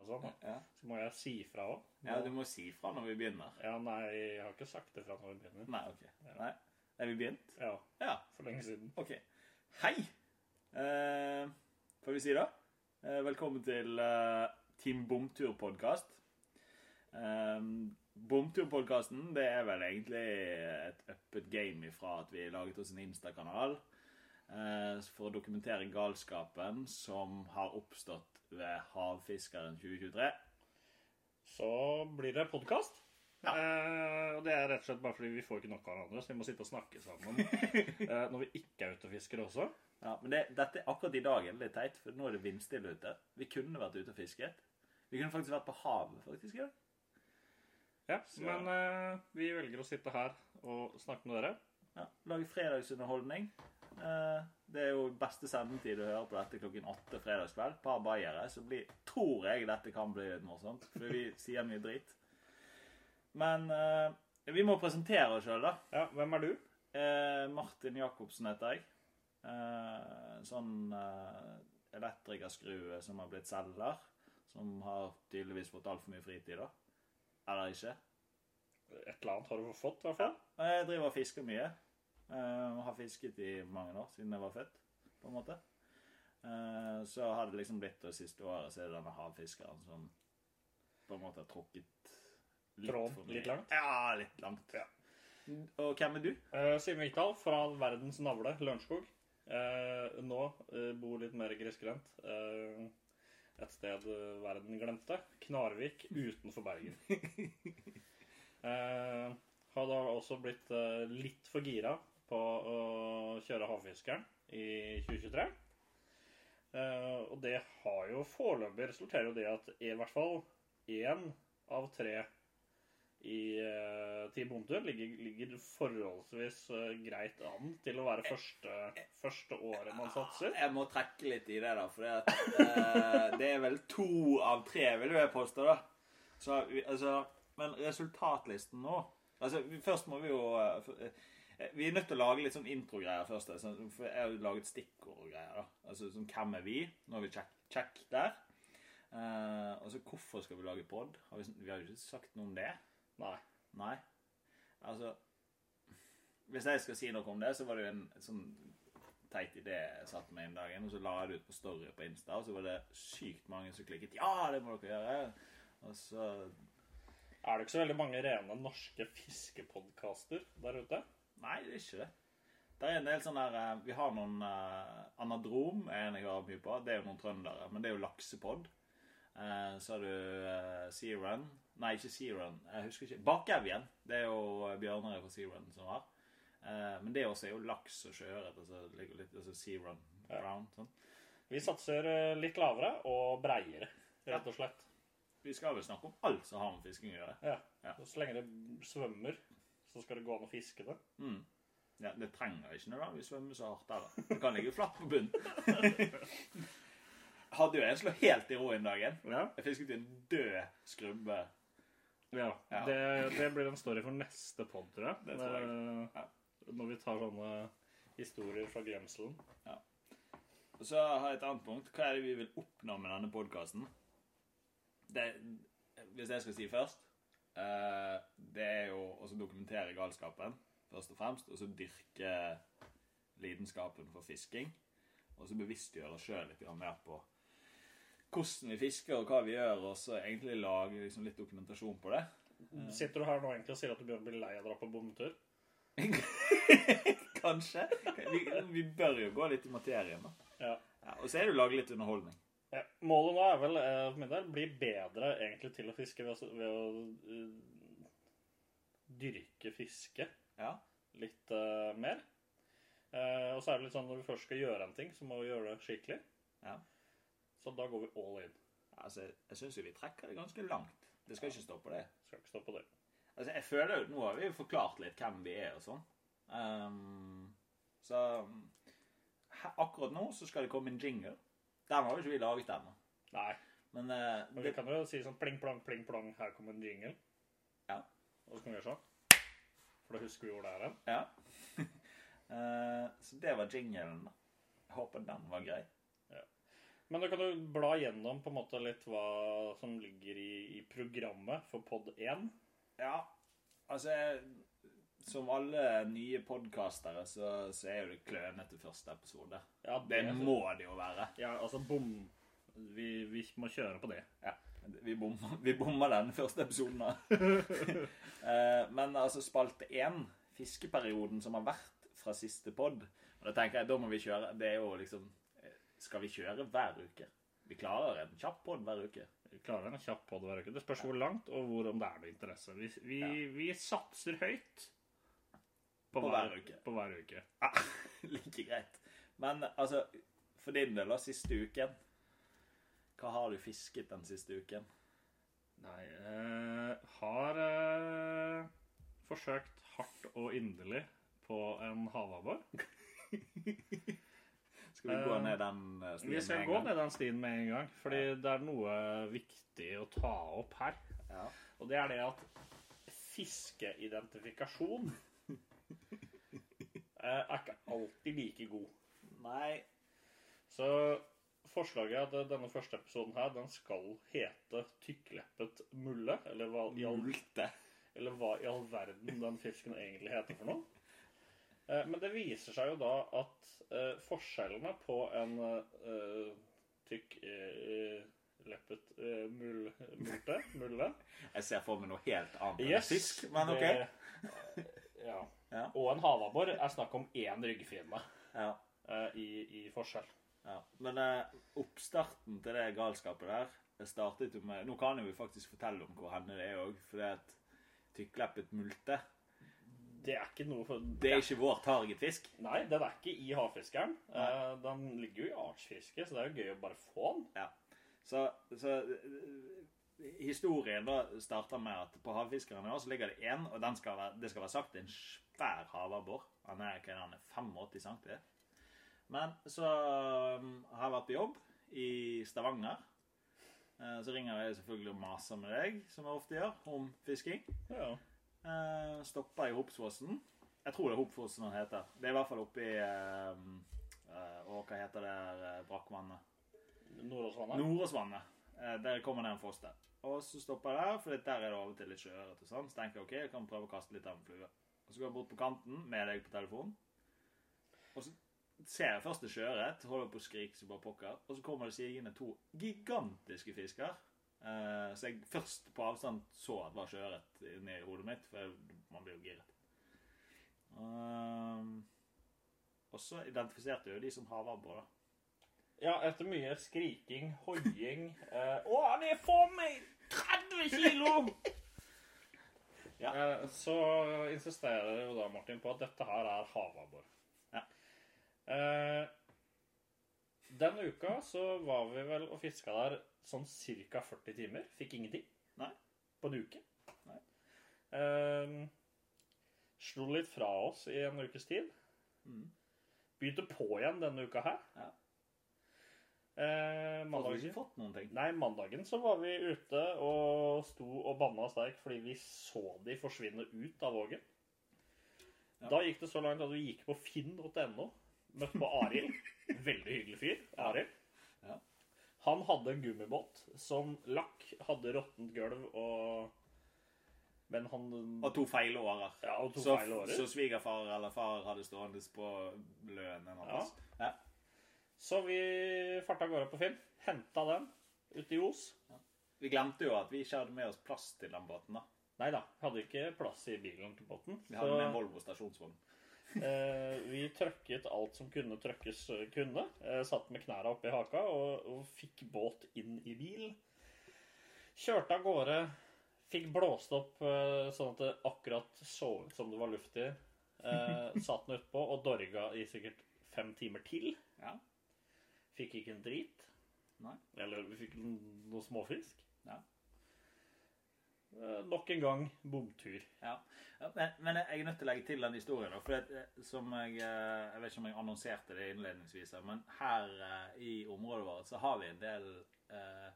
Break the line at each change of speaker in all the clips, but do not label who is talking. sånn, da.
Ja.
så må jeg si fra òg.
ja, du må si fra når vi begynner.
Ja, nei, jeg har ikke sagt det fra når vi begynner.
Nei, ok. Nei. Er vi begynt?
Ja,
Ja,
for lenge siden.
ok. Hei! Eh, får vi si det? Eh, velkommen til eh, Team Bomtur-podcast. Eh, Bomtur-podcasten, det er vel egentlig et øppet game ifra at vi laget oss en Insta-kanal eh, for å dokumentere galskapen som har oppstått ved Havfiskeren 2023.
Så blir det podkast. Eh, og det er rett og slett bare fordi vi får ikke nok av hverandre, så vi må sitte og snakke sammen eh, når vi ikke er ute og fisker også.
Ja, men det, dette er akkurat i dag er det litt teit, for nå er det vindstille ute. Vi kunne vært ute og fisket. Vi kunne faktisk vært på havet, faktisk. Ja.
Ja, Men eh, vi velger å sitte her og snakke med dere.
Ja, lage fredagsunderholdning. Eh, Det er jo beste sendetid å høre på dette klokken åtte fredagskveld. Par bayere, så blir, tror jeg dette kan bli litt morsomt, for vi sier mye drit. Men eh, vi må presentere oss sjøl, da.
Ja, Hvem er du?
Eh, Martin Jacobsen heter jeg. Eh, sånn eh, elektrikerskrue som har blitt selger. Som har tydeligvis fått altfor mye fritid, da. Eller ikke.
Et eller annet har du fått, i hvert fall.
Og Jeg driver og fisker mye. Eh, har fisket i mange år, siden jeg var født, på en måte. Eh, så har det liksom blitt det siste året, så er det denne havfiskeren som på en måte har trukket
Tråden
for mye.
litt langt?
Ja, litt langt.
Ja.
Og hvem er du?
Eh, Simen Vikdal fra verdens navle, Lørenskog. Eh, nå eh, bor litt mer grisgrendt. Eh, et sted eh, verden glemte. Knarvik utenfor Bergen. eh, har da også blitt eh, litt for gira på å kjøre havfiskeren i 2023. Eh, og det har jo foreløpig resultert i det at i hvert fall én av tre i uh, Team Bondur ligger, ligger forholdsvis eh, greit an til å være første, første året man satser.
Jeg må trekke litt i det, da. For det, at, eh, det er vel to av tre, vil jeg påstå. da. Så, vi- altså, men resultatlisten nå altså, vi, Først må vi jo eh, f- eh, Vi er nødt til å lage litt sånn introgreier først. da, sånn- For jeg har jo laget stikkord og greier. da. Altså, sånn, Hvem er vi? Nå har vi check, check der. Eh, og så hvorfor skal vi lage pod? Har vi, vi har jo ikke sagt noe om det.
Nei.
Nei. Altså Hvis jeg skal si noe om det, så var det jo en sånn teit idé jeg satte meg inn dagen, og så la jeg det ut på story på Insta, og så var det sykt mange som klikket 'Ja, det må dere gjøre'. Og så
Er det ikke så veldig mange rene norske fiskepodkaster der ute?
Nei, det er ikke det. Det er en del sånne her, eh, Vi har noen eh, Anadrom er en jeg hører mye på. Det er jo noen trøndere, men det er jo laksepod. Eh, så har du eh, Sea Run Nei, ikke Sea Run. Jeg husker ikke. Bakevjen. Det er jo eh, Bjørnar fra Sea Run som har. Eh, men det også er jo laks og sjøørret. Altså, ligger litt- altså Sea Run Brown. Sånn.
Vi satser eh, litt lavere og breiere, rett og slett.
Vi skal vel snakke om alt som har med fisking å gjøre.
Ja.
Ja.
Så lenge det svømmer, så skal det gå an å fiske det.
Mm. Ja, det trenger ikke nødvendigvis svømme så hardt heller. Det kan ligge flatt på bunnen. Hadde jo en slå helt i ro en dag.
Ja.
Jeg fisket jo en død skrubbe. Ja.
Det, det blir en story for neste pod, tror jeg.
Det tror jeg.
Eh,
Ja.
Når vi tar sånne historier fra glemselen.
Og så har jeg et annet punkt. Hva er det vi vil oppnå med denne podkasten? Hvis jeg skal si først eh, Det er jo å så dokumentere galskapen, først og fremst. Og så dyrke lidenskapen for fisking. Og så bevisstgjøre oss sjøl litt grann mer på hvordan vi fisker og hva vi gjør. Og så egentlig lage liksom litt dokumentasjon på det.
Sitter du her nå egentlig og sier at du begynner å bli lei av å dra på bomtur?
Kanskje. Vi, vi bør jo gå litt i materien, da.
Ja.
Ja, og så er det jo lage litt underholdning.
Ja. Målet nå er vel eh, for min del, bli bedre egentlig til å fiske ved å, ved å eh, dyrke fiske
Ja.
litt eh, mer. Eh, og så er det litt sånn når vi først skal gjøre en ting, så må vi gjøre det skikkelig.
ja.
Så da går vi all in.
Altså, jeg syns jo vi trekker det ganske langt. Det skal ikke stå på det.
Skal ikke stå på det.
Altså, jeg føler jo, Nå har vi jo forklart litt hvem vi er og sånn. Ehm, så um, he- akkurat nå så skal det komme en jingle. Den har jo ikke vi laget ennå.
Nei,
Men eh,
men vi
det,
kan jo si sånn pling plong, pling plong, her kommer en jingle.
Ja.
Og så kan vi gjøre sånn. For da husker vi hvor det er hen.
ja. Eh, så det var jinglen. da. Jeg håper den var grei.
Men da kan du bla gjennom på en måte litt hva som ligger i, i programmet for pod 1.
Ja, altså jeg- Som alle nye podkastere, så, så er jo det klønete første episode.
Ja,
Det må det jo være.
Ja, altså bom. Vi, vi må kjøre på det.
Ja, vi bomma, vi bomma den første episoden. da. Eh, Men altså spalte én, fiskeperioden som har vært fra siste pod Og da tenker jeg, da må vi kjøre Det er jo liksom eh, Skal vi kjøre hver uke? Vi klarer en kjapp pod hver uke.
Vi klarer en kjapp podd hver uke. Det spørs hvor langt og hvor om det er noe interesse. Vi, vi, vi satser høyt
På hver uke.
På hver uke.
Ah, like greit. Men altså, for din del, da, siste uken Hva har du fisket den siste uken?
Nei eh, Har eh, forsøkt hardt og inderlig på en havabbor.
Skal vi gå
Eh,
ned den eh, stien
Vi skal
med en
gå
gang?
ned den stien med en gang, fordi det er noe viktig å ta opp her.
Ja.
Og det er det at fiskeidentifikasjon eh, er ikke alltid like god.
Nei.
Så forslaget er at denne første episoden her, den skal hete tykkleppet mulle, eller hva i all,
Jolte.
eller hva i all verden den fisken egentlig heter for noe. Eh, Men det viser seg jo da at eh, forskjellene på en eh, tykk eh, leppet eh, mul, multe, mulle
Jeg ser for meg noe helt annet enn
Yes,
fisk, men OK.
det- ja.
Ja.
Og en havabbor er snakk om én ryggfiende
Ja.
eh, i, i forskjell.
Ja, Men eh, oppstarten til det galskapet der det startet jo med Nå kan jeg jo faktisk fortelle om hvor henne det er òg, fordi at tykkleppet multe
Det er ikke noe for
Det er ikke vår targetfisk.
Nei, den er ikke i havfiskeren. Eh, den ligger jo i artsfiske, så det er jo gøy å bare få den.
Ja. Så, så eh, historien da starter med at på Havfiskeren i år så ligger det én, og den skal være, det skal være sagt en svær havabbor. Han er, hva er han, 85 cm. Men så um, har jeg vært på jobb i Stavanger. Eh, Så ringer jeg selvfølgelig og maser med deg, som jeg ofte gjør, om fisking.
Ja.
Eh, Stoppa i Hopsfossen. Jeg tror det er Hopsfossen han heter. Det er i hvert fall oppi eh, eh, Og hva heter det der eh, brakkvannet?
Nordåsvannet.
Nordåsvannet. Eh, Der kommer det en foss der. Og så stopper jeg der, for der er det av og til litt sjøørret. og sånn. Så tenker jeg ok, jeg kan prøve å kaste litt av en flue. Og så går jeg bort på kanten med deg på telefonen. Og så ser jeg først en sjøørret, holder på å skrike som bare pokker. Og så kommer det sigende to gigantiske fisker. Eh, så jeg først på avstand så at det var sjøørret inni hodet mitt, for jeg, man blir jo giret. Ehm, og så identifiserte jeg jo de som havabbor, da.
Ja, etter mye skriking, hoiing eh, Å, han er for meg! 30 kilo!
Ja.
Eh, så insisterer jo da Martin på at dette her er havabbor.
Ja.
Eh, den uka så var vi vel og fiska der sånn ca. 40 timer. Fikk ingenting.
Nei.
På en uke.
Nei.
Eh, slo litt fra oss i en ukes tid.
Mhm.
Begynte på igjen denne uka her.
Ja.
Eh,
Hadde vi
mandagen,
ikke fått noen ting?
nei, mandagen så var vi ute og sto og banna sterk fordi vi så de forsvinne ut av vågen.
Ja.
Da gikk det så langt at vi gikk på finn.no. Møtte på Arild. Veldig hyggelig fyr. Arild.
Ja.
Han hadde en gummibåt som lakk, hadde råttent gulv og Men han
Og to feil årer.
Ja, og to
så,
feil årer.
så svigerfar eller far hadde stående på løen en
Ja.
annen ja.
Så vi farta av gårde på Finn. Henta den ute i Os.
Vi glemte jo at vi ikke hadde med oss plass til den båten. da.
Nei da, hadde ikke plass i bilen til båten.
Vi hadde med en
Så
Volvo stasjonsvogn.
eh, vi trøkket alt som kunne trøkkes eh, kunne. Eh, satt med knærne oppi haka og, og fikk båt inn i bil. Kjørte av gårde. Fikk blåst opp eh, sånn at det akkurat så ut som det var luft i. Eh, satt den utpå og dorga i sikkert fem timer til.
Ja.
Fikk ikke en drit.
Nei.
Eller vi fikk noe småfisk.
Ja.
Eh, nok en gang bomtur.
Ja. Ja, Men, men jeg er nødt til å legge til den historien. da, for det, som jeg, eh, jeg vet ikke om jeg annonserte det innledningsvis, men her eh, i området vårt så har vi en del eh,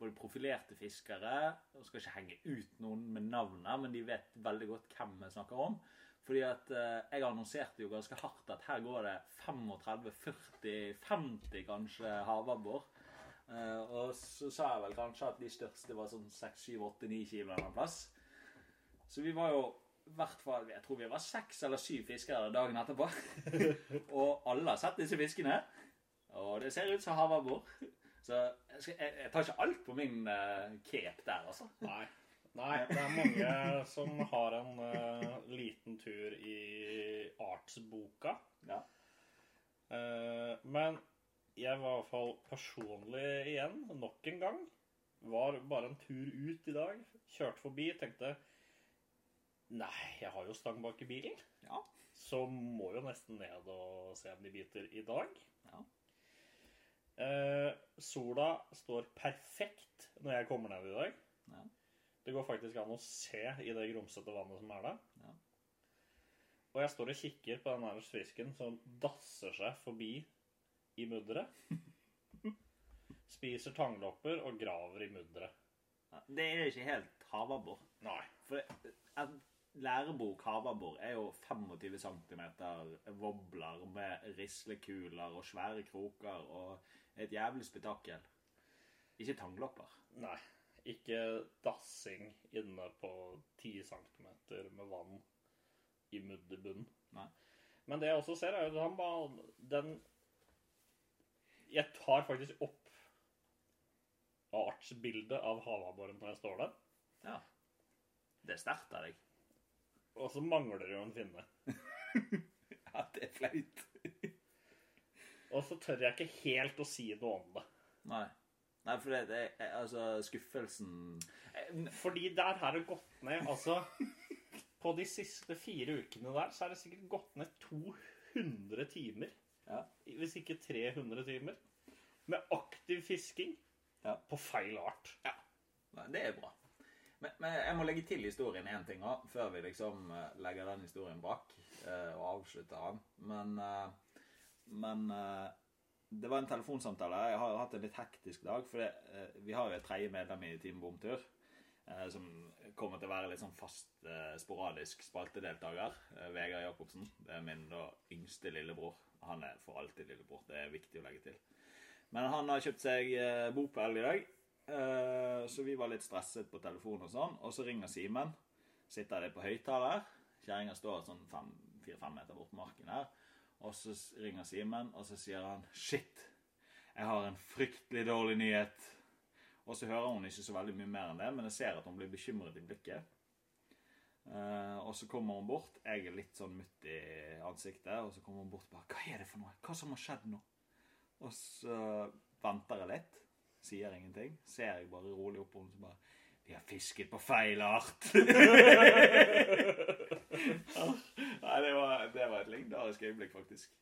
både profilerte fiskere og skal ikke henge ut noen med navnet, men de vet veldig godt hvem jeg snakker om. Fordi at eh, jeg annonserte jo ganske hardt at her går det 35-40-50 kanskje havabbor Eh, og så sa jeg vel kanskje at de største var sånn 6, 7, 8, 9 kilo en eller annen plass. Så vi var jo i hvert fall Jeg tror vi var seks eller syv fiskere dagen etterpå. og alle har sett disse fiskene. Og det ser ut som havabbor. Så jeg, skal, jeg, jeg tar ikke alt på min uh, cape der, altså.
Nei. Nei, det er mange som har en eh, liten tur i artsboka.
Ja.
Eh, men jeg var i hvert fall personlig igjen, nok en gang. Var bare en tur ut i dag. Kjørte forbi, tenkte Nei, jeg har jo stang bak i bilen.
Ja.
Så må jo nesten ned og se om de biter i dag.
Ja.
Eh, sola står perfekt når jeg kommer ned i dag.
Ja.
Det går faktisk an å se i det grumsete vannet som er der.
Ja.
Og jeg står og kikker på den her fisken som dasser seg forbi i mudderet. Spiser tanglopper og graver i mudderet.
Ja, Det er jo ikke helt havabbor.
Nei.
For det- en lærebok havabbor er jo 25 cm wobbler med rislekuler og svære kroker og et jævlig spetakkel. Ikke tanglopper.
Nei. Ikke dassing inne på 10 cm med vann i mudderbunnen.
Nei.
Men det jeg også ser, er jo at han bare Den Jeg tar faktisk opp artsbildet av havabboren når jeg står der.
Ja. Det er sterkt av deg.
Og så mangler det jo en finne.
Ja, det er flaut.
Og så tør jeg ikke helt å si noe om det.
Nei. Nei, for det det er altså skuffelsen Eh,
Fordi der har det gått ned Altså, på de siste fire ukene der, så er det sikkert gått ned 200 timer.
Ja.
Hvis ikke 300 timer. Med aktiv fisking
Ja.
på feil art.
Nei, Det er bra. Men, men jeg må legge til historien én ting også, før vi liksom eh, legger den historien bak eh, og avslutter den. Men, eh, men eh, det var en telefonsamtale. Jeg har hatt en litt hektisk dag, for det, eh, vi har jo et tredje medlem i Team Bomtur. eh, Som kommer til å være litt sånn fast, eh, sporadisk spaltedeltaker. eh, Vegard Jacobsen. Det er min da yngste lillebror. Han er for alltid lillebror. Det er viktig å legge til. Men han har kjøpt seg eh, bopel i dag, eh, så vi var litt stresset på telefonen og sånn. Og så ringer Simen. Sitter de på høyttaler. Kjerringa står sånn fem- fire-fem meter bort på marken her. Og så s- ringer Simen, og så sier han Shit, jeg har en fryktelig dårlig nyhet. Og så hører hun ikke så veldig mye mer enn det, men jeg ser at hun blir bekymret i blikket. Eh, og så kommer hun bort. Jeg er litt sånn mutt i ansiktet. Og så kommer hun bort og bare Hva er det for noe? Hva som har skjedd nå? Og så venter jeg litt. Sier ingenting. Ser jeg bare rolig opp på henne så bare Vi har fisket på feil art! Nei, det var, det var et legendarisk øyeblikk, faktisk.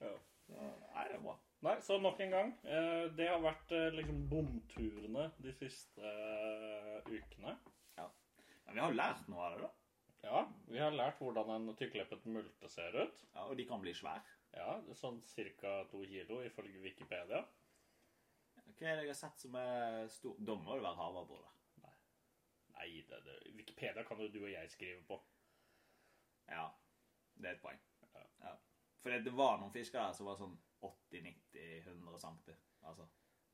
Nei, det er bra.
Nei, så nok en gang. eh, Det har vært eh, liksom bomturene de siste eh, ukene.
Men vi har jo lært noe av det, da.
Ja, vi har lært hvordan en tykkleppet multe ser ut.
Ja, og de kan bli svære.
Ja, sånn ca. to kilo ifølge Wikipedia.
Hva er det jeg har sett som er stor? Da må det være havabbor, da.
Nei, det, det, Wikipedia kan jo du og jeg skrive på.
Ja, det er et poeng.
Ja.
Ja. For det- det var noen fisker her som var sånn 80-90-100 cm. Altså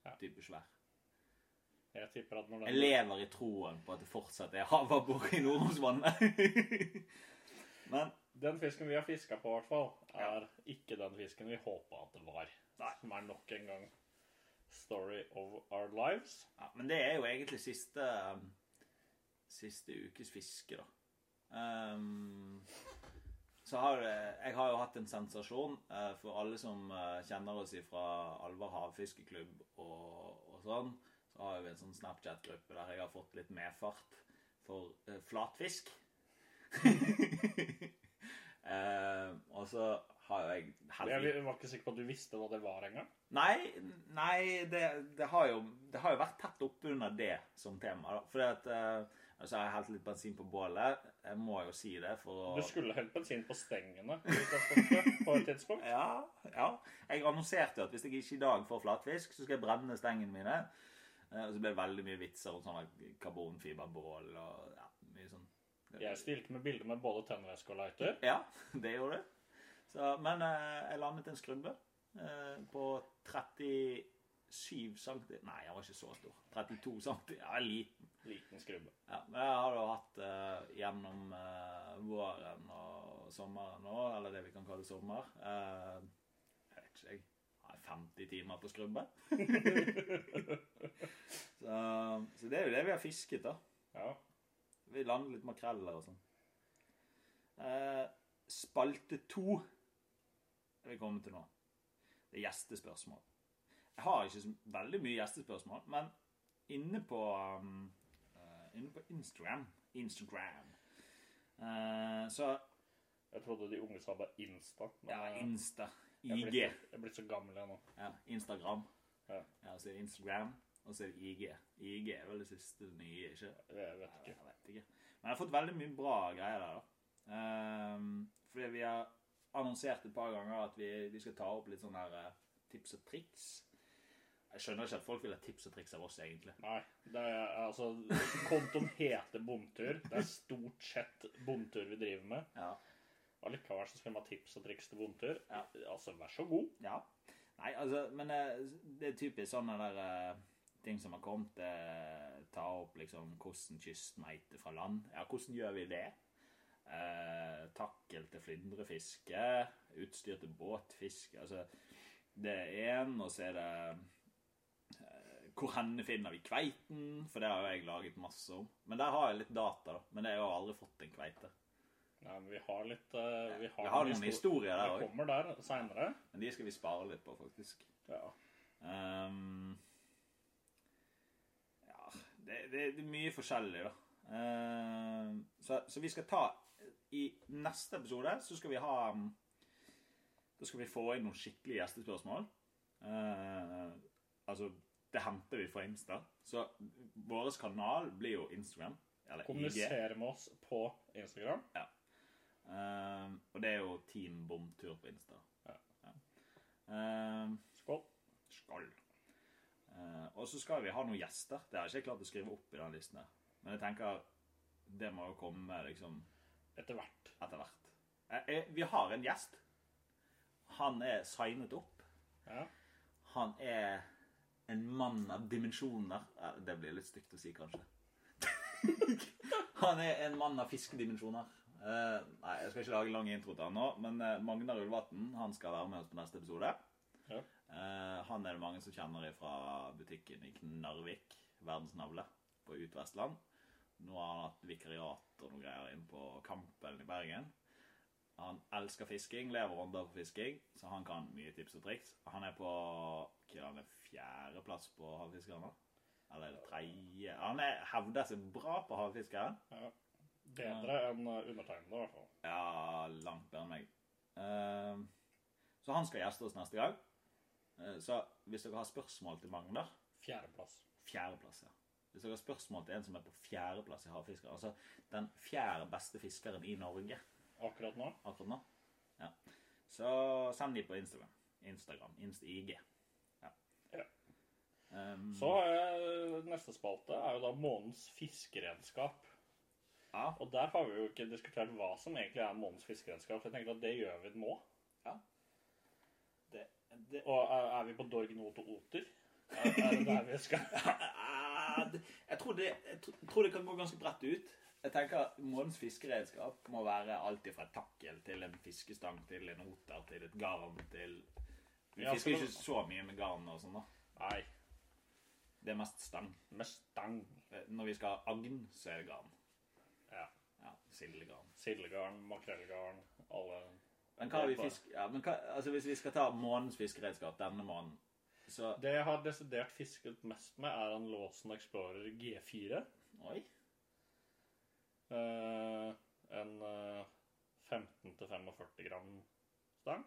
Ja.
type svær.
Jeg tipper at når
Jeg
den
lever i troen på at det fortsatt er havabbor i Nordhomsvannet. Men
Den fisken vi har fiska på, i hvert fall,
Ja.
er ikke den fisken vi håpa at det var.
Nei.
Som er nok en gang story of our lives.
Ja, men det er jo egentlig siste um, Siste ukes fiske, da. Um, så har det, jeg har jo hatt en sensasjon eh, for alle som eh, kjenner oss fra Alvar havfiskeklubb og, og sånn. Så har vi en sånn Snapchat-gruppe der jeg har fått litt medfart for eh, flatfisk. Eh, og så har jo jeg
Jeg var ikke sikker på at du visste hva det var engang.
Nei, nei det, det, har jo, det har jo vært tett oppunder det som tema. For at, eh, altså, jeg har helt litt bensin på bålet. Jeg må jo si det for
Du
å
skulle helt bensin på stengene i utgangspunktet, på et tidspunkt.
ja, ja. Jeg annonserte jo at hvis jeg ikke i dag får flatfisk, så skal jeg brenne stengene mine. Eh, Og så ble det veldig mye vitser om sånne karbonfiberbål og ja, mye sånn.
Jeg stilte med bilder med både tennvæske og lighter.
Ja, det gjorde det. Så, men eh, jeg landet en skrubbe eh, på 37 7 cm Nei, han var ikke så stor. 32 cm. Ja, liten.
Liten skrubbe.
Ja, men jeg har da hatt eh, gjennom eh, våren og sommeren nå, eller det vi kan kalle sommer eh, Jeg vet ikke, jeg. har 50 timer på skrubbe. så, så det er jo det vi har fisket, da.
Ja.
Vi lander litt makreller og sånn. Eh, spalte to er vi kommet til nå. Det er gjestespørsmål. Jeg har ikke så veldig mye gjestespørsmål, men inne på, um, eh, inne på Instagram Instagram. Eh, så
Jeg trodde de unge sa bare Insta. men,
Ja,
eh,
Insta.
jeg er blitt-
IG.
Jeg er blitt så gammel jeg nå.
Ja, Instagram.
Ja.
Ja, så er det Instagram, og så er det IG. IG er vel det siste nye, ikke?
Jeg vet
Jeg
ikke.
vet ikke. Men jeg har fått veldig mye bra greier der, da. Ehm, fordi vi har annonsert et par ganger at vi, vi skal ta opp litt sånne her eh, tips og triks. Jeg skjønner ikke at folk vil ha tips og triks av oss, egentlig.
Nei. Det er, altså, kontoen heter Bomtur. Det er stort sett bomtur vi driver med.
Ja.
Allikevel så skal de ha tips og triks til bomtur.
Ja.
Altså, vær så god.
ja. Nei, altså, men eh, det er typisk sånne der eh, ting som har kommet. eh, ta opp liksom hvordan kystmeite fra land. Ja, hvordan gjør vi det? Eh, takkel til flyndrefiske, utstyr til båtfiske. Altså, det er én, og så er det eh, hvor henne finner vi kveiten? For det har jo jeg laget masse om. Men der har jeg litt data, da. Men jeg har aldri fått en kveite.
Nei, men vi har litt eh, Vi har,
Jeg har noen
historier.
historier der
Vi
òg,
kommer der seinere.
men de skal vi spare litt på, faktisk.
Ja.
Ehm, ja det, det, det er mye forskjellig, da. Ehm, så, så vi skal ta I neste episode så skal vi ha mm, Da skal vi få inn noen skikkelige gjestespørsmål. Ehm, altså Det henter vi fra Insta. Så vår kanal blir jo Instagram. Eller IG.
Kommunisere med oss på Instagram.
Ehm, og det er jo Team Bomtur på Insta.
Ja.
Ehm,
Skål.
Skål. Eh, og så skal vi ha noen gjester. Det har jeg ikke klart å skrive opp i den listen. her. Men jeg tenker det må jo komme liksom
Etter hvert.
etter hvert. Eh, eh, vi har en gjest. Han er signet opp.
Ja.
Han er en mann av dimensjoner. Eh, Det blir litt stygt å si, kanskje. han er en mann av fiskedimensjoner. Eh, nei, jeg skal ikke lage en lang intro til han nå, men eh, Magnar Ulvatn han skal være med oss på neste episode.
Ja.
Eh, han er det mange som kjenner fra butikken i Knarvik, verdensnavle, på Utvestland. Nå har han hatt vikariat og noe greier inn på Kampen i Bergen. Han elsker fisking, lever ånda for fisking, så han kan mye tips og triks. Han er på hva er han er fjerdeplass på Havfiskeren, da? Eller er det tredje Han er, hevder seg bra på Havfiskeren.
ja. Bedre enn eh, undertegnede, i hvert fall.
Ja, langt bedre enn meg. Ehm, så han skal gjeste oss neste gang. Eh, Så hvis dere har spørsmål til Magnar
Fjerdeplass.
Fjerdeplass, ja. Hvis dere har spørsmål til en som er på fjerdeplass i Havfiskeren, altså den fjerde beste fiskeren i Norge
Akkurat nå.
akkurat nå. Ja. Så send de på Instagram. Instagram. Inst IG. Ja.
Ja.
Ehm,
Så eh, neste spalte er jo da månedens fiskeredskap.
ja.
Og der har vi jo ikke diskutert hva som egentlig er månedens fiskeredskap. for Jeg tenker at det gjør vi nå.
Det, det,
Og er, er vi på Dorg Not og Oter? Er, er det der vi skal?
Ah, det- jeg, tror det, jeg tr- tror det kan gå ganske bredt ut. Jeg tenker at Månens fiskeredskap må være alt fra et takkel til en fiskestang til en oter til et garn til Vi
Ja, for
fisker
det-
ikke så mye med garn og sånn, da.
Nei,
Det er mest stang.
med stang.
Eh, Når vi skal ha agn, så er det garn.
Ja.
Ja, Sildegarn.
Sildegarn, makrellgarn, alle
Men hva har vi fisk... Ja, men hva, altså hvis vi skal ta månens fiskeredskap denne måneden, så
Det jeg har desidert fisket mest med, er en Lawson Explorer G4.
Oi.
Eh, en eh, 15-45 gram stang.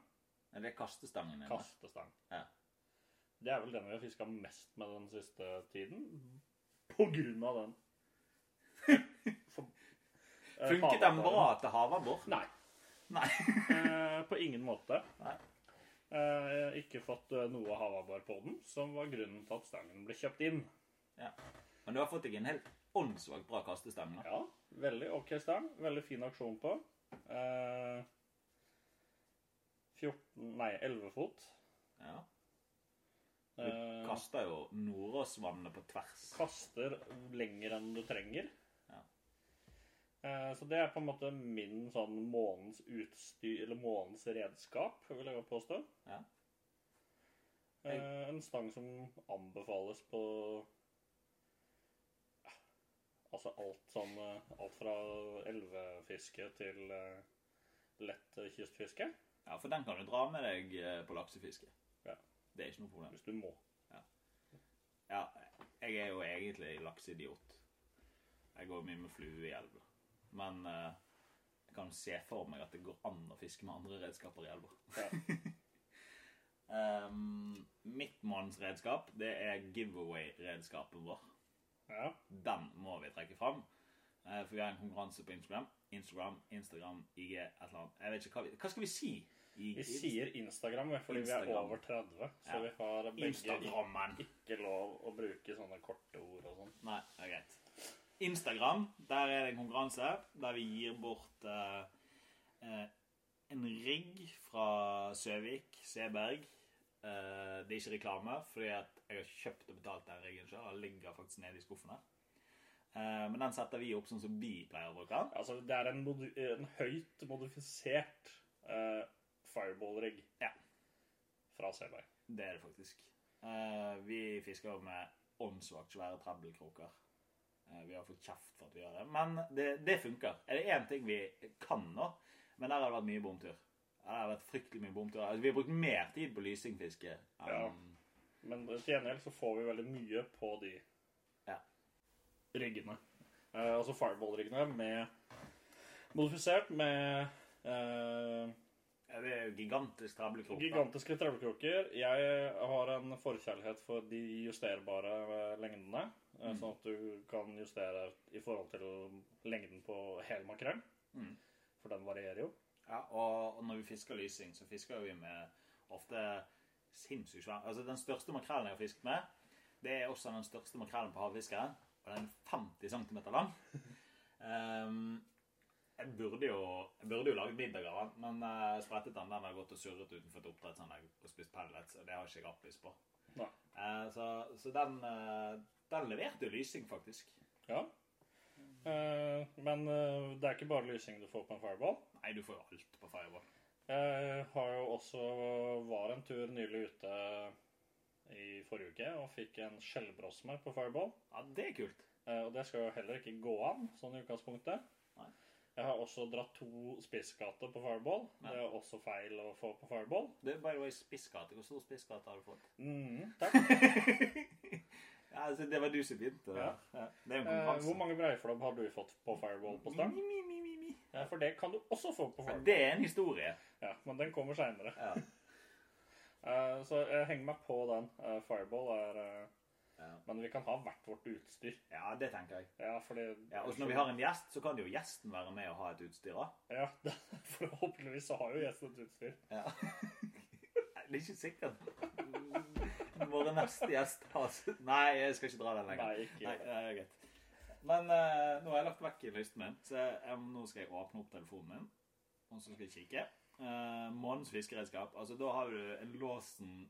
Er det kastestangen din? da?
Kastestang.
Ja.
Det er vel den vi har fiska mest med den siste tiden.
Mm.
På grunn av den. For- eh,
Funket den
havabbor.
bra til havabbor?
Nei.
Nei.
Eh, på ingen måte.
Nei.
Eh, jeg har ikke fått eh, noe havabbor på den, som var grunnen til at stangen ble kjøpt inn.
Ja. Men du har fått deg en helt åndssvakt bra kastestang. da.
Ja, veldig ok stang. Veldig fin aksjon på. Eh, 14 Nei, 11 fot.
Ja. Du
Eh,
kaster jo Nordåsvannet på tvers.
kaster lenger enn du trenger.
Ja.
Eh, Så det er på en måte min sånn månens utstyr, eller månens redskap, vil jeg påstå.
Ja.
Eh, En stang som anbefales på ja, Altså alt sånn eh, Alt fra elvefiske til eh, lett eh, kystfiske.
Ja, for den kan du dra med deg eh, på laksefiske.
Ja.
Det er ikke noe problem.
Hvis du må.
Ja, jeg er jo egentlig lakseidiot. Jeg går mye med flue i elva. Men eh, jeg kan se for meg at det går an å fiske med andre redskaper i elva.
Ja.
Um, mitt mannsredskap, det er giveaway-redskapet vår.
ja.
Den må vi trekke fram. Eh, for vi har en konkurranse på Instagram. Instagram, Instagram, IG, et eller annet. Jeg vet ikke hva vi Hva skal vi si? I,
Vi sier Instagram vi, fordi vi er
Instagram.
over 30, så
Ja.
vi har begge
Instagrammen.
ikke lov å bruke sånne korte ord og sånn.
Nei, det er greit. Instagram, der er det en konkurranse der vi gir bort eh, eh, en rigg fra Søvik, Seberg. Eh, det er ikke reklame, fordi at jeg har kjøpt og betalt den riggen sjøl. Den ligger faktisk nede i skuffen her. Eh, men den setter vi opp sånn som vi pleier å bruke den.
Altså, det er en, modi en høyt modifisert eh, fireball-rigg
Ja.
fra Seberg.
Det er det faktisk. Eh, vi fisker jo med åndssvakt svære trebbelkroker. Eh, vi har fått kjeft for at vi gjør det, men det, det funker. Er det én ting vi kan nå? Men der har det vært mye bomtur. Ja, Det har vært fryktelig mye bomtur. Altså, vi har brukt mer tid på lysingfiske. enn-
Ja. Men til gjengjeld så får vi veldig mye på de
Ja.
riggene. Eh, altså fireball-riggene med modifisert med eh,
Ja, Det er jo gigantisk trebbelkrok. da.
Gigantiske trevlekroker. Jeg har en forkjærlighet for de justerbare eh, lengdene. eh, Sånn at du kan justere i forhold til lengden på hel makrell.
Mm.
For den varierer jo.
Ja, og og når vi fisker lysing, så fisker vi med ofte sinnssykt svær Altså, den største makrellen jeg har fisket med, det er også den største makrellen på havfiskeren. Og den er 50 cm lang. Ehm, jeg, burde jo, jeg burde jo lage middag av den, men eh, jeg sprettet den. Den har gått og surret utenfor et oppdrettsanlegg og spist pellets, og det har ikke jeg appis på.
Nei.
Eh, så så den, eh, den leverte jo lysing, faktisk.
Ja. Eh, men eh, det er ikke bare lysing du får på en fireball.
Nei, du får jo alt på Fireball.
Jeg har jo også eh, var en tur nylig ute i forrige uke og fikk en skjellbrosme på fireball.
Ja, det er kult.
Eh, Og det skal jo heller ikke gå an, sånn i utgangspunktet.
Nei.
Jeg har også dratt to spisskater på fireball.
Nei.
Det er også feil å få på fireball.
Det er by the way spissgate. Hvor stor spissgate har du fått?
Mm, takk.
Ja, altså, det var du som begynte. det.
Ja.
Ja. Det er jo en
Eh,
konkurranse.
Hvor mange breiflabb har du fått på fireball på stang?
Mi, mi, mi, mi, mi.
Ja, For det kan du også få på
Ja,
fireball.
Det er en historie.
Ja, Men den kommer seinere.
Ja.
Så jeg henger meg på den. Eh, Fireball er eh,
Ja.
Men vi kan ha hvert vårt utstyr.
ja, det tenker jeg.
Ja, fordi
Ja, og så når vi har en gjest, så kan jo gjesten være med og ha et utstyr. da.
Ja, forhåpentligvis så har jo gjesten et utstyr.
Ja. Nei, Det er ikke sikkert. Vår neste gjest har Nei, jeg skal ikke dra den lenger.
Nei, ikke
Nei,
gjør det.
det er greit. Men eh, nå har jeg lagt vekk lysten min, så jeg, nå skal jeg åpne opp telefonen min. Og så skal jeg kikke. Eh, månens fiskeredskap. Altså, da har du en Lawson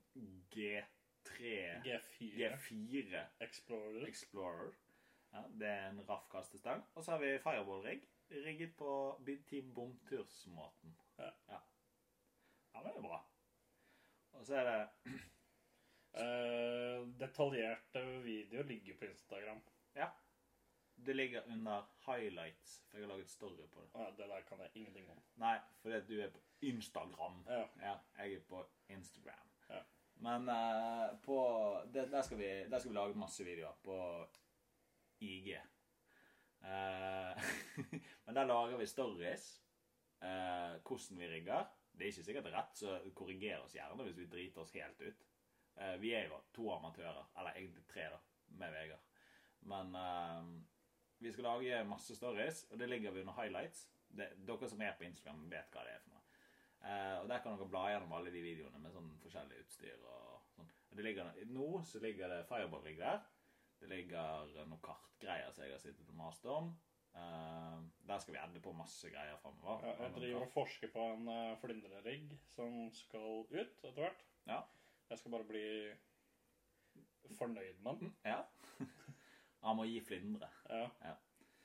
G3
G4
G4
Explorer.
Explorer. Ja, det er en raff kastestang. Og så har vi fireball-rigg. Rigget på Big Team Bomtursmåten.
Ja.
ja. Ja, men det er bra. Og så er det
Eh, detaljerte videoer ligger på Instagram.
Ja. Det ligger under highlights, for jeg har laget story på det.
Å Ja, det der kan jeg ingenting om.
Nei, fordi at du er på Instagram.
Ja.
Ja, jeg er på Instagram.
Ja.
Men eh, på det, der, skal vi, der skal vi lage masse videoer på IG. Eh, men der lager vi stories. eh, hvordan vi rigger. Det er ikke sikkert rett, så korriger oss gjerne hvis vi driter oss helt ut. Eh, vi er jo to amatører. Eller egentlig tre, da, med Vegard. Men eh, vi skal lage masse stories, og det ligger vi under highlights. Det, dere som er på Instagram, vet hva det er for noe. Eh, og Der kan dere bla gjennom alle de videoene med sånn forskjellig utstyr. og sånn. Og det ligger, Nå så ligger det fireball-rigg der. Det ligger noen kartgreier som jeg har sittet og mast om. Eh, der skal vi ende på masse greier framover.
Ja, jeg driver og forsker på en uh, flyndrerigg som skal ut etter hvert.
Ja.
Jeg skal bare bli fornøyd med den.
Ja. Han må gi flyndre.
Ja.
Ja.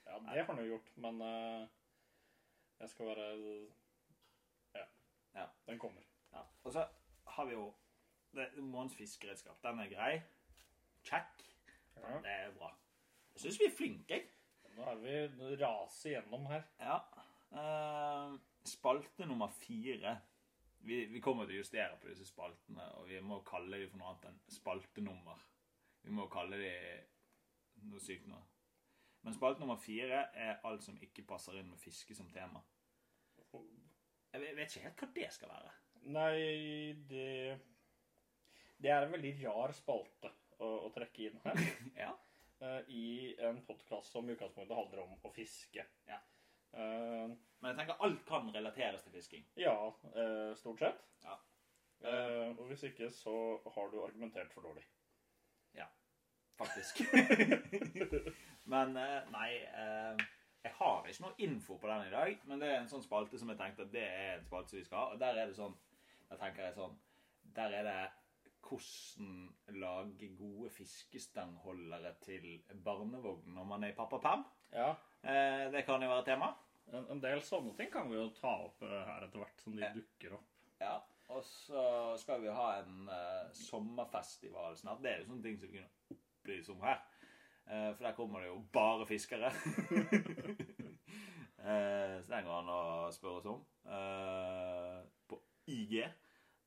ja, det har han jo gjort, men eh, jeg skal være ja.
Ja.
Den kommer.
Ja. Og så har vi jo det, Månens fiskeredskap. Den er grei. Check.
Ja.
Det er bra. Jeg syns vi er flinke, jeg.
Nå er vi nå raser gjennom her.
Ja. Eh, spalte nummer fire. Vi, vi kommer til å justere på disse spaltene, og vi må kalle dem for noe annet enn spaltenummer. Vi må kalle dem noe sykt nå. Men spalte nummer fire er alt som ikke passer inn med fiske som tema. Jeg vet- jeg vet ikke helt hva det skal være.
Nei, det Det er en veldig rar spalte å, å trekke inn her.
Ja.
eh, I en podkast som i utgangspunktet handler om å fiske.
Ja.
Eh,
Men jeg tenker alt kan relateres til fisking.
ja eh, stort sett.
Ja.
Eh, og hvis ikke, så har du argumentert for dårlig.
Faktisk. men eh, nei eh, Jeg har ikke noe info på den i dag, men det er en sånn spalte som jeg tenkte at det er en spalte som vi skal ha. Og der er det sånn Der tenker jeg sånn Der er det hvordan lage gode fiskestangholdere til barnevogn når man er i pappaperm.
Ja.
Eh, det kan jo være tema.
En, en del sånne ting kan vi jo ta opp eh, her etter hvert som de
Ja.
dukker opp.
Ja. Og så skal vi ha en eh, sommerfestival snart. Det er jo sånne ting som vi kunne opplyse om her. Eh, for der kommer det jo bare fiskere. eh, så den går an å spørre oss om. Eh, på IG.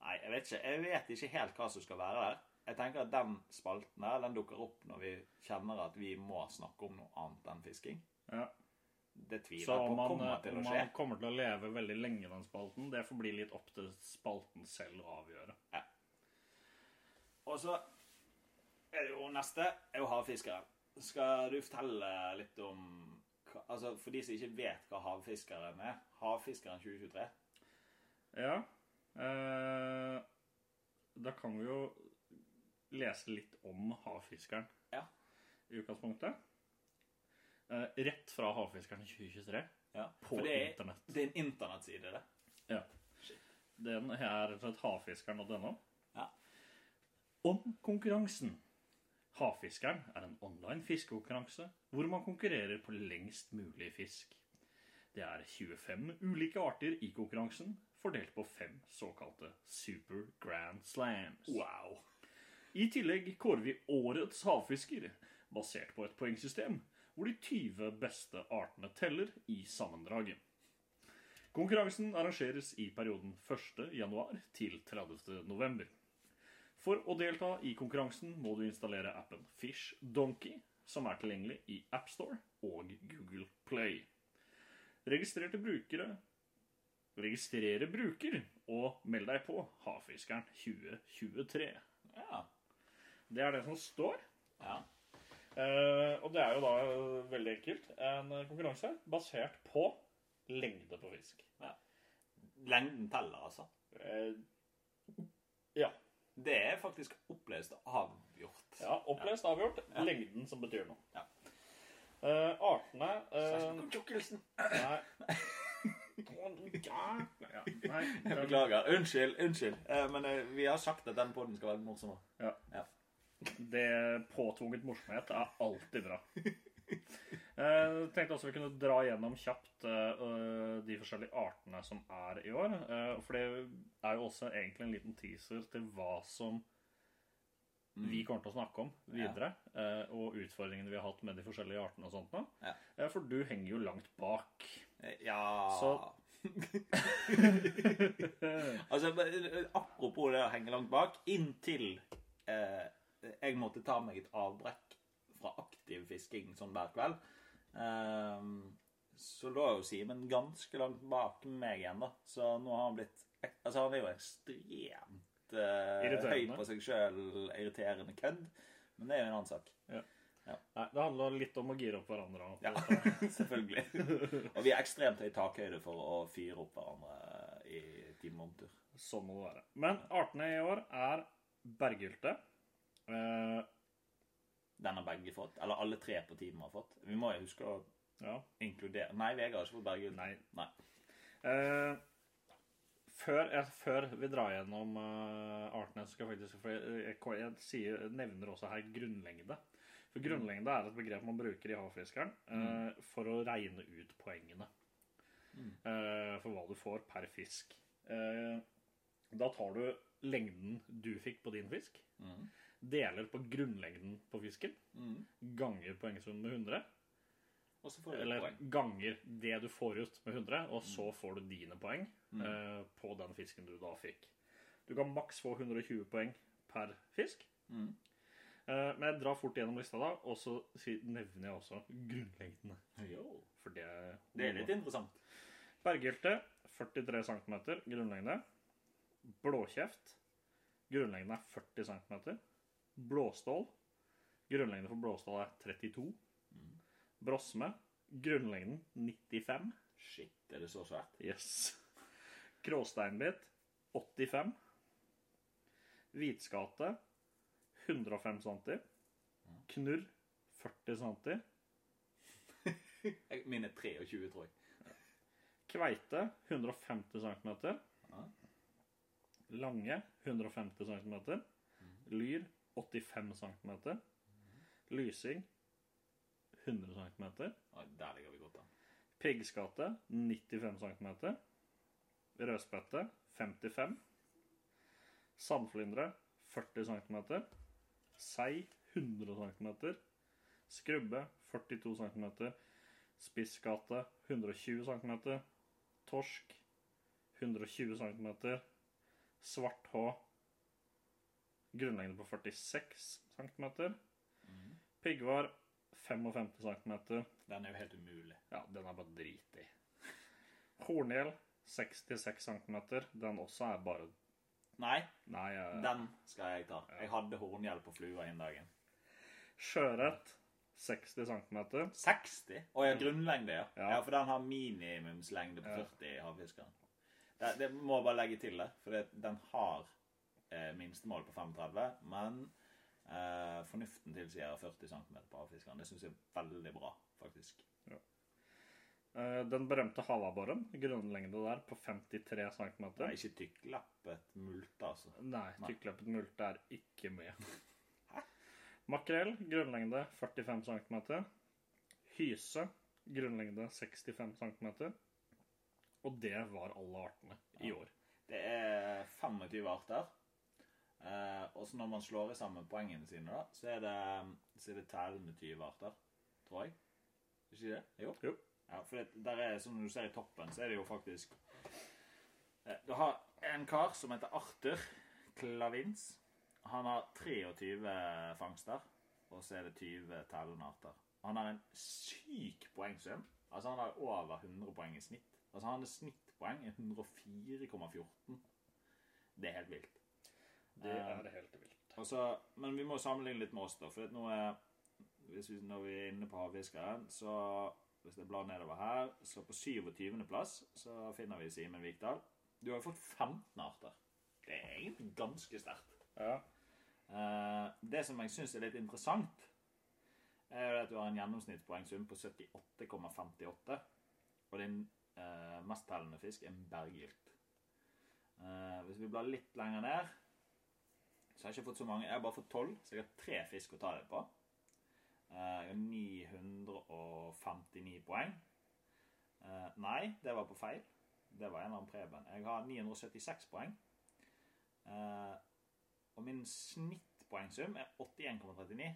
Nei, jeg vet, ikke, jeg vet ikke helt hva som skal være der. Jeg tenker at Den spalten der, den dukker opp når vi kjenner at vi må snakke om noe annet enn fisking.
Ja.
Det tviler
Så
jeg
om
på
man, eh,
kommer til
om
å skje.
man kommer til å leve veldig lenge i den spalten, det får bli litt opp til spalten selv å avgjøre.
Og så er det jo neste er jo havfiskeren. Skal du fortelle litt om hva- Altså, For de som ikke vet hva havfiskeren er Havfiskeren 2023.
Ja. Eh, da kan vi jo lese litt om havfiskeren
Ja.
i utgangspunktet. Eh, rett fra Havfiskeren 2023
Ja,
på
for det er,
internett.
det er en internettside, det.
Ja. Den er rett og slett havfiskeren.no.
Ja.
Om konkurransen. Havfiskeren er en online fiskekonkurranse hvor man konkurrerer på lengst mulig fisk. Det er 25 ulike arter i konkurransen, fordelt på fem såkalte super grand slams.
Wow.
I tillegg kårer vi årets havfisker, basert på et poengsystem, hvor de 20 beste artene teller i sammendraget. Konkurransen arrangeres i perioden 1. januar til 30. november. For å delta i konkurransen må du installere appen Fish Donkey, som er tilgjengelig i AppStore og Google Play. Registrerte brukere Registrere bruker og meld deg på Havfiskeren 2023.
Ja.
Det er det som står.
ja.
Eh, og det er jo da eh, veldig enkelt en eh, konkurranse basert på lengde på fisk.
Lengden teller, altså.
Eh,
Det er faktisk opplest og avgjort.
ja, Opplest, avgjort. Lengden som betyr noe.
Ja.
Eh, artene eh,
Kjæresten, kom, tjukkelsen.
Nei. Ja, nei
Jeg
den,
Beklager. Unnskyld. Unnskyld. Eh, Men eh, vi har sagt at den poden skal være morsom.
det påtvunget morsomhet er alltid bra. Eh, tenkte også vi kunne dra gjennom kjapt eh, de forskjellige artene som er i år. eh, for det er jo også egentlig en liten teaser til hva som
Mm.
vi kommer til å snakke om videre. eh, og utfordringene vi har hatt med de forskjellige artene og sånt. nå.
Ja.
Eh, for du henger jo langt bak.
Eh, Ja
Så-
Altså, men, Apropos det å henge langt bak. Inntil eh, jeg måtte ta meg et avbrekk fra aktiv fisking sånn hver kveld, eh, så lå jo Simen ganske langt bak meg igjen, da. Så nå har han blitt Altså, han er jo ekstremt eh, høy
Irriterende.
på seg sjøl, irriterende kødd. Men det er jo en annen sak.
Nei, det handler litt om å gire opp hverandre. og-
Ja, selvfølgelig. Og vi har ekstremt høy takhøyde for å fyre opp hverandre i timeomtur.
Sånn må det være. Men artene i år er berghylte. eh,
Den har begge fått. Eller alle tre på teamet har fått. Vi må jo huske å
ja,
inkludere Nei, Vegard har ikke fått Berghylte.
nei.
Nei.
Eh, før, jeg, før vi drar gjennom eh, Artnes, skal jeg faktisk For jeg, jeg, jeg sier, nevner også her grunnlengde. For grunnlengde er et begrep man bruker i havfiskeren eh, for å regne ut poengene. eh, for hva du får per fisk. Eh, da tar du lengden du fikk på din fisk,
Mhm.
deler på grunnlengden på fisken,
Mhm.
ganger poengsummen med 100.
Og så får du et
Eller
poeng. Mm.
ganger det du får ut med 100, og så får du dine poeng eh, på den fisken du da fikk. Du kan maks få 120 poeng per fisk.
Mhm.
Eh, men jeg drar fort gjennom lista da, og så si- nevner jeg også grunnlengdene.
Jo.
For det,
Det er litt interessant.
Berghylte 43 cm grunnlengde. Blåkjeft grunnlengden er 40 cm. Blåstål grunnlengden for blåstål er 32. Brosme grunnlengden 95.
Shit, er det så svært?
Yes. Kråsteinbit 85. Hvitskate 105 cm. Knurr 40 cm.
Jeg- Min er 23, tror jeg.
Kveite 150 cm.
Ja.
Lange 150 cm. Lyr 85 cm. Lysing 100 cm.
Ja, der ligger vi godt an.
Piggskate 95 cm. Rødspette 55. Sandflyndre 40 cm. Sei 100 cm. Skrubbe 42 cm. Spissgate 120 cm. Torsk 120 cm. Svarthå grunnleggende på 46 cm. Piggvar 55 cm.
Den er jo helt umulig.
Ja, den er bare drit i. Horngjell, 66 cm. Den også er bare
Nei,
Nei. eh,
den skal jeg ta. Jeg hadde horngjell på flua den dagen.
Sjøørret, 60 cm.
60? Å ja, grunnlengde, ja.
Ja.
ja. For den har minimumslengde på 40 i havfiskeren. Det, det må jeg bare legge til det, for det, den har eh, minstemål på 35, men eh, fornuften tilsier 40 cm på havfiskeren. Det syns jeg er veldig bra, faktisk.
Eh, Den berømte havabboren, grunnlengde der på 53 cm.
Det er ikke tykklappet multe, altså.
Nei, tykkleppet multe er ikke med. Makrell, grunnlengde 45 cm. Hyse, grunnlengde 65 cm. Og det var alle artene i år.
Det er 25 arter. Eh, og så når man slår i sammen poengene sine, da, så er det, mm, så er det tellende 20 arter, tror jeg. Er ikke det? Jo.
Jo.
Ja, for det, der er, som du ser i toppen, så er det jo faktisk eh, Du har en kar som heter Arthur Klavins. Han har 23 fangster, og så er det 20 tellende arter. Han har en syk poengsum. Altså Han har over 100 poeng i snitt. Altså Han har snittpoeng i 104,14. Det er helt vilt.
Det er helt vilt.
Og så- men vi må sammenligne litt med oss, da. For at nå er, hvis vi, når vi er inne på havfiskeren, så Hvis jeg blar nedover her, så på 27. plass så finner vi Simen Vikdal. Du har jo fått 15 arter. Det er egentlig ganske sterkt.
Ja.
Eh, det som jeg syns er litt interessant, er jo at du har en gjennomsnittspoengsum på 78,58. Og din eh, mesttellende fisk er en berggylt. Eh, hvis vi blar litt lenger ned, så har jeg ikke fått så mange. Jeg har bare fått tolv, så jeg har tre fisk å ta det på. Eh, jeg har 959 poeng. Eh, nei, det var på feil. Det var en eller annen Preben. Jeg har 976 poeng. Eh, og min snittpoengsum er 81,39.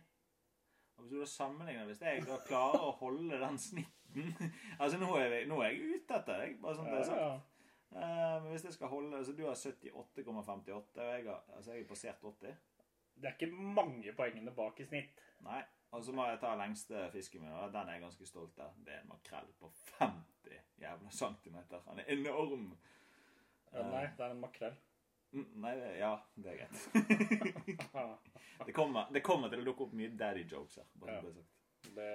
Og Hvis du da sammenligner hvis jeg da klarer å holde den snitten Altså, nå er, vi, nå er jeg ute etter deg, bare sånn at det er sagt. Eh, Men hvis jeg skal holde Så du har 78,58, og jeg har altså jeg er passert 80.
Det er ikke mange poengene bak i snitt.
Nei. Og så må jeg ta lengste fisken min, og den er jeg ganske stolt av. Det er en makrell på 50 jævla centimeter. Han er enorm.
Ja, nei, det er en makrell.
Mm, Nei, det- ja, det er greit. Det kommer, det kommer til å dukke opp mye daddy jokes her. Bare
Ja.
så det er sagt.
Det,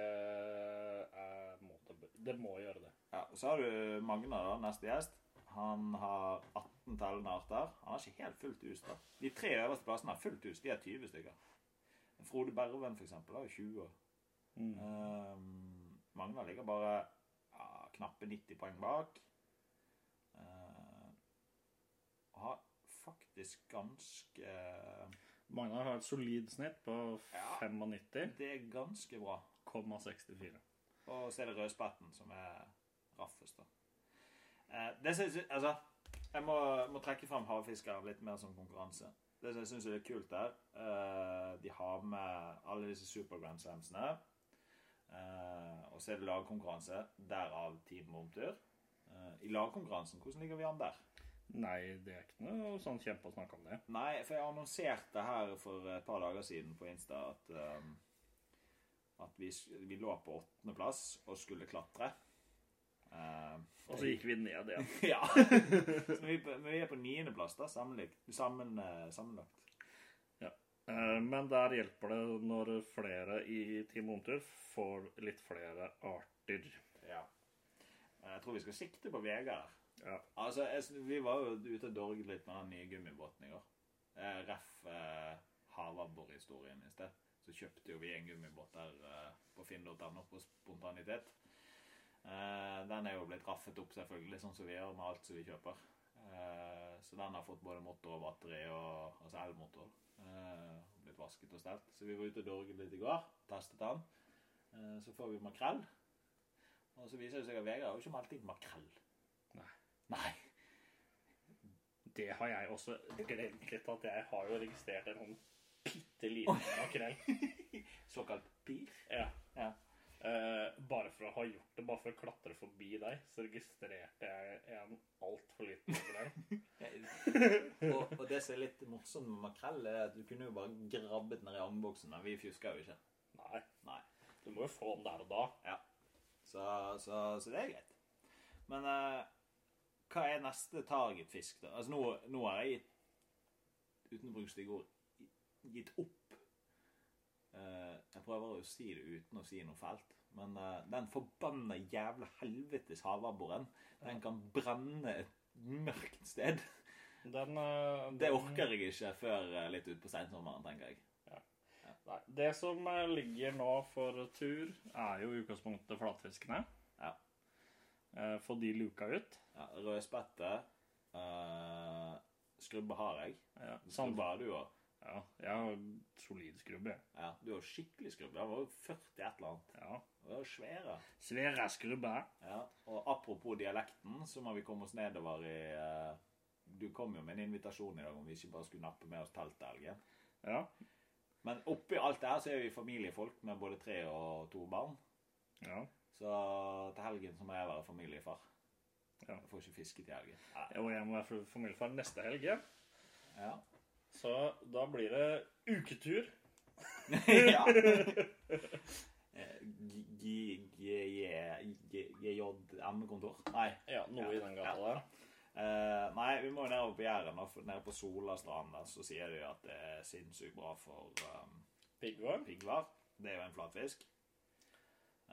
er, må, det- det må gjøre det.
Ja, og så har du Magna, da, neste gjest. Han har 18 tellende arter. Han har ikke helt fullt hus, da. De tre øverste plassene har fullt hus. De har 20 stykker. Frode Berven, for eksempel, har jo 20 år.
Mm.
Ehm, Magna ligger bare ja, knappe 90 poeng bak. Ehm, har faktisk ganske
Magnar har et solid snitt på
Ja.
95,64.
Det er ganske bra. Og så er det rødspetten som er raffest, da. Eh, det synes jeg Altså, jeg må, må trekke fram havfiskeren litt mer som konkurranse. Det som jeg syns er kult der, eh, de har med alle disse super grand slamsene. Eh, og så er det lagkonkurranse, derav Team Momtur. Eh, I lagkonkurransen, hvordan ligger vi an der?
Nei, det er ikke noe sånn kjempe å snakke om det.
Nei, for jeg annonserte her for et par dager siden på Insta at, ehm, at vi, s- vi lå på åttendeplass og skulle klatre. Ehm,
Og så gikk vi ned igjen.
ja. Så vi, men vi er på niendeplass, da, sammenlagt. Sammen, eh, sammenlagt.
Eh, Men der hjelper det når flere i Team Omtur får litt flere arter.
Ja. Jeg tror vi skal sikte på Vegard.
Ja.
Altså, jeg, s- vi var jo ute og dorget litt med den nye gummibåten i går. Eh, ref eh, Havabbor-historien i sted. Så kjøpte jo vi en gummibåt der eh, på finn.no på spontanitet. Eh, den er jo blitt raffet opp, selvfølgelig, sånn som vi gjør med alt som vi kjøper. Eh, så den har fått både motor og batteri, og, altså elmotor. Eh, blitt vasket og stelt. Så vi var ute og dorget litt i går. Testet den. Eh, så får vi makrell. Og så viser det seg at Vegard har jo ikke meldt inn makrell.
Nei.
Nei.
Det har jeg også glemt litt, at jeg har jo registrert en sånn bitte liten makrell.
Såkalt pir.
Ja.
Ja.
Eh, bare for å ha gjort det, bare for å klatre forbi deg, så registrerte jeg en altfor liten makrell.
og, og det som er litt morsomt med makrell, er at du kunne jo bare grabbet den ned i angboksen. Men vi fjuska jo ikke.
Nei,
Nei.
du må jo få den der og da.
Så, så, så det er greit. Men eh, hva er neste targetfisk, da? Altså, nå, nå har jeg gitt Uten å bruke stygge ord gitt opp. Eh, jeg prøver å si det uten å si noe fælt. Men eh, den forbanna jævla helvetes havabboren, den kan brenne et mørkt sted.
Den, eh,
Det
den-
orker jeg ikke før eh, litt utpå sensommeren, tenker jeg.
Nei. Det som eh, ligger nå for tur, er jo i utgangspunktet flatfiskene.
Ja.
Eh, Få de luka ut.
Ja, Rødspette. Uh, skrubbe har jeg.
Ja. Sand...
Skrubbe har du òg.
Ja, jeg har solid skrubb, jeg.
Ja, du har skikkelig skrubbe. Den var jo 40 et eller annet.
Ja.
Den var jo svære.
Svære skrubber.
Ja, og apropos dialekten, så må vi komme oss nedover i eh, Du kom jo med en invitasjon i dag om vi ikke bare skulle nappe med oss teltelgen.
Ja.
Men oppi alt det her så er vi familiefolk med både tre og to barn.
ja.
Så til helgen så må jeg være familiefar.
Ja.
Jeg får ikke fiske til helgen. Nei.
Og jeg må være familiefar neste helg. ja.
Ja.
Så da blir det uketur.
ja. Eh, GJM-kontor? Nei.
Ja, noe i den gata der.
Eh, nei, vi må jo nedover på Jæren. da, for Nede på Solastranden der, så sier de at det er sinnssykt bra for um,
Piggvarm.
pigler. Det er jo en flatfisk.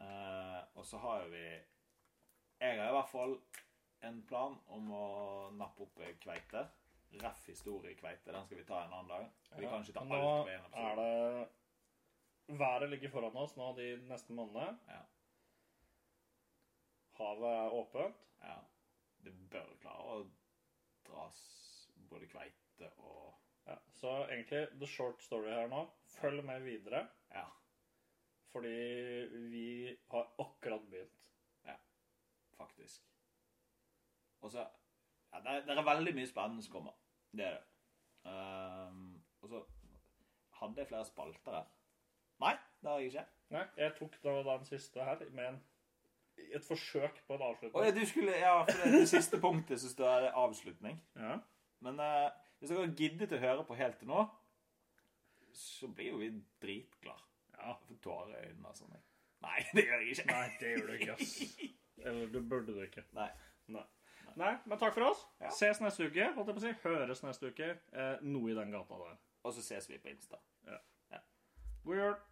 Eh, og så har jo vi Jeg har i hvert fall en plan om å nappe opp kveite. Ref historiekveite. Den skal vi ta en annen dag. Vi kan ikke ta
Nå
alt på en
er
episode.
det Været ligger foran oss nå de neste månedene.
Ja.
Havet er åpent.
Ja. Det bør klare å dras både kveite og
Ja, så egentlig, the short story her nå Følg med videre,
Ja.
fordi vi har akkurat begynt.
faktisk. Og så ja, det, er- det er veldig mye spennende som kommer. Det er det. Ehm, og så hadde jeg flere spalter her. Nei, det har jeg ikke.
Nei, jeg tok da den siste her med en, et forsøk på en
Å
avslutning.
ja, du skulle Ja, for det, det siste punktet så står det avslutning.
Ja.
Men eh, hvis dere har giddet å høre på helt til nå, så blir jo vi dritglade.
Ja.
Jeg får tårer i øynene og sånn. jeg. Nei, det gjør jeg ikke.
Nei, det gjør du ikke, ass. Eller du burde det ikke.
Nei.
Nei. Nei, men takk for oss.
Ja.
Ses neste uke. Holdt jeg på å si. Høres neste uke. Eh, noe i den gata der.
Og så ses vi på Insta.
God jul.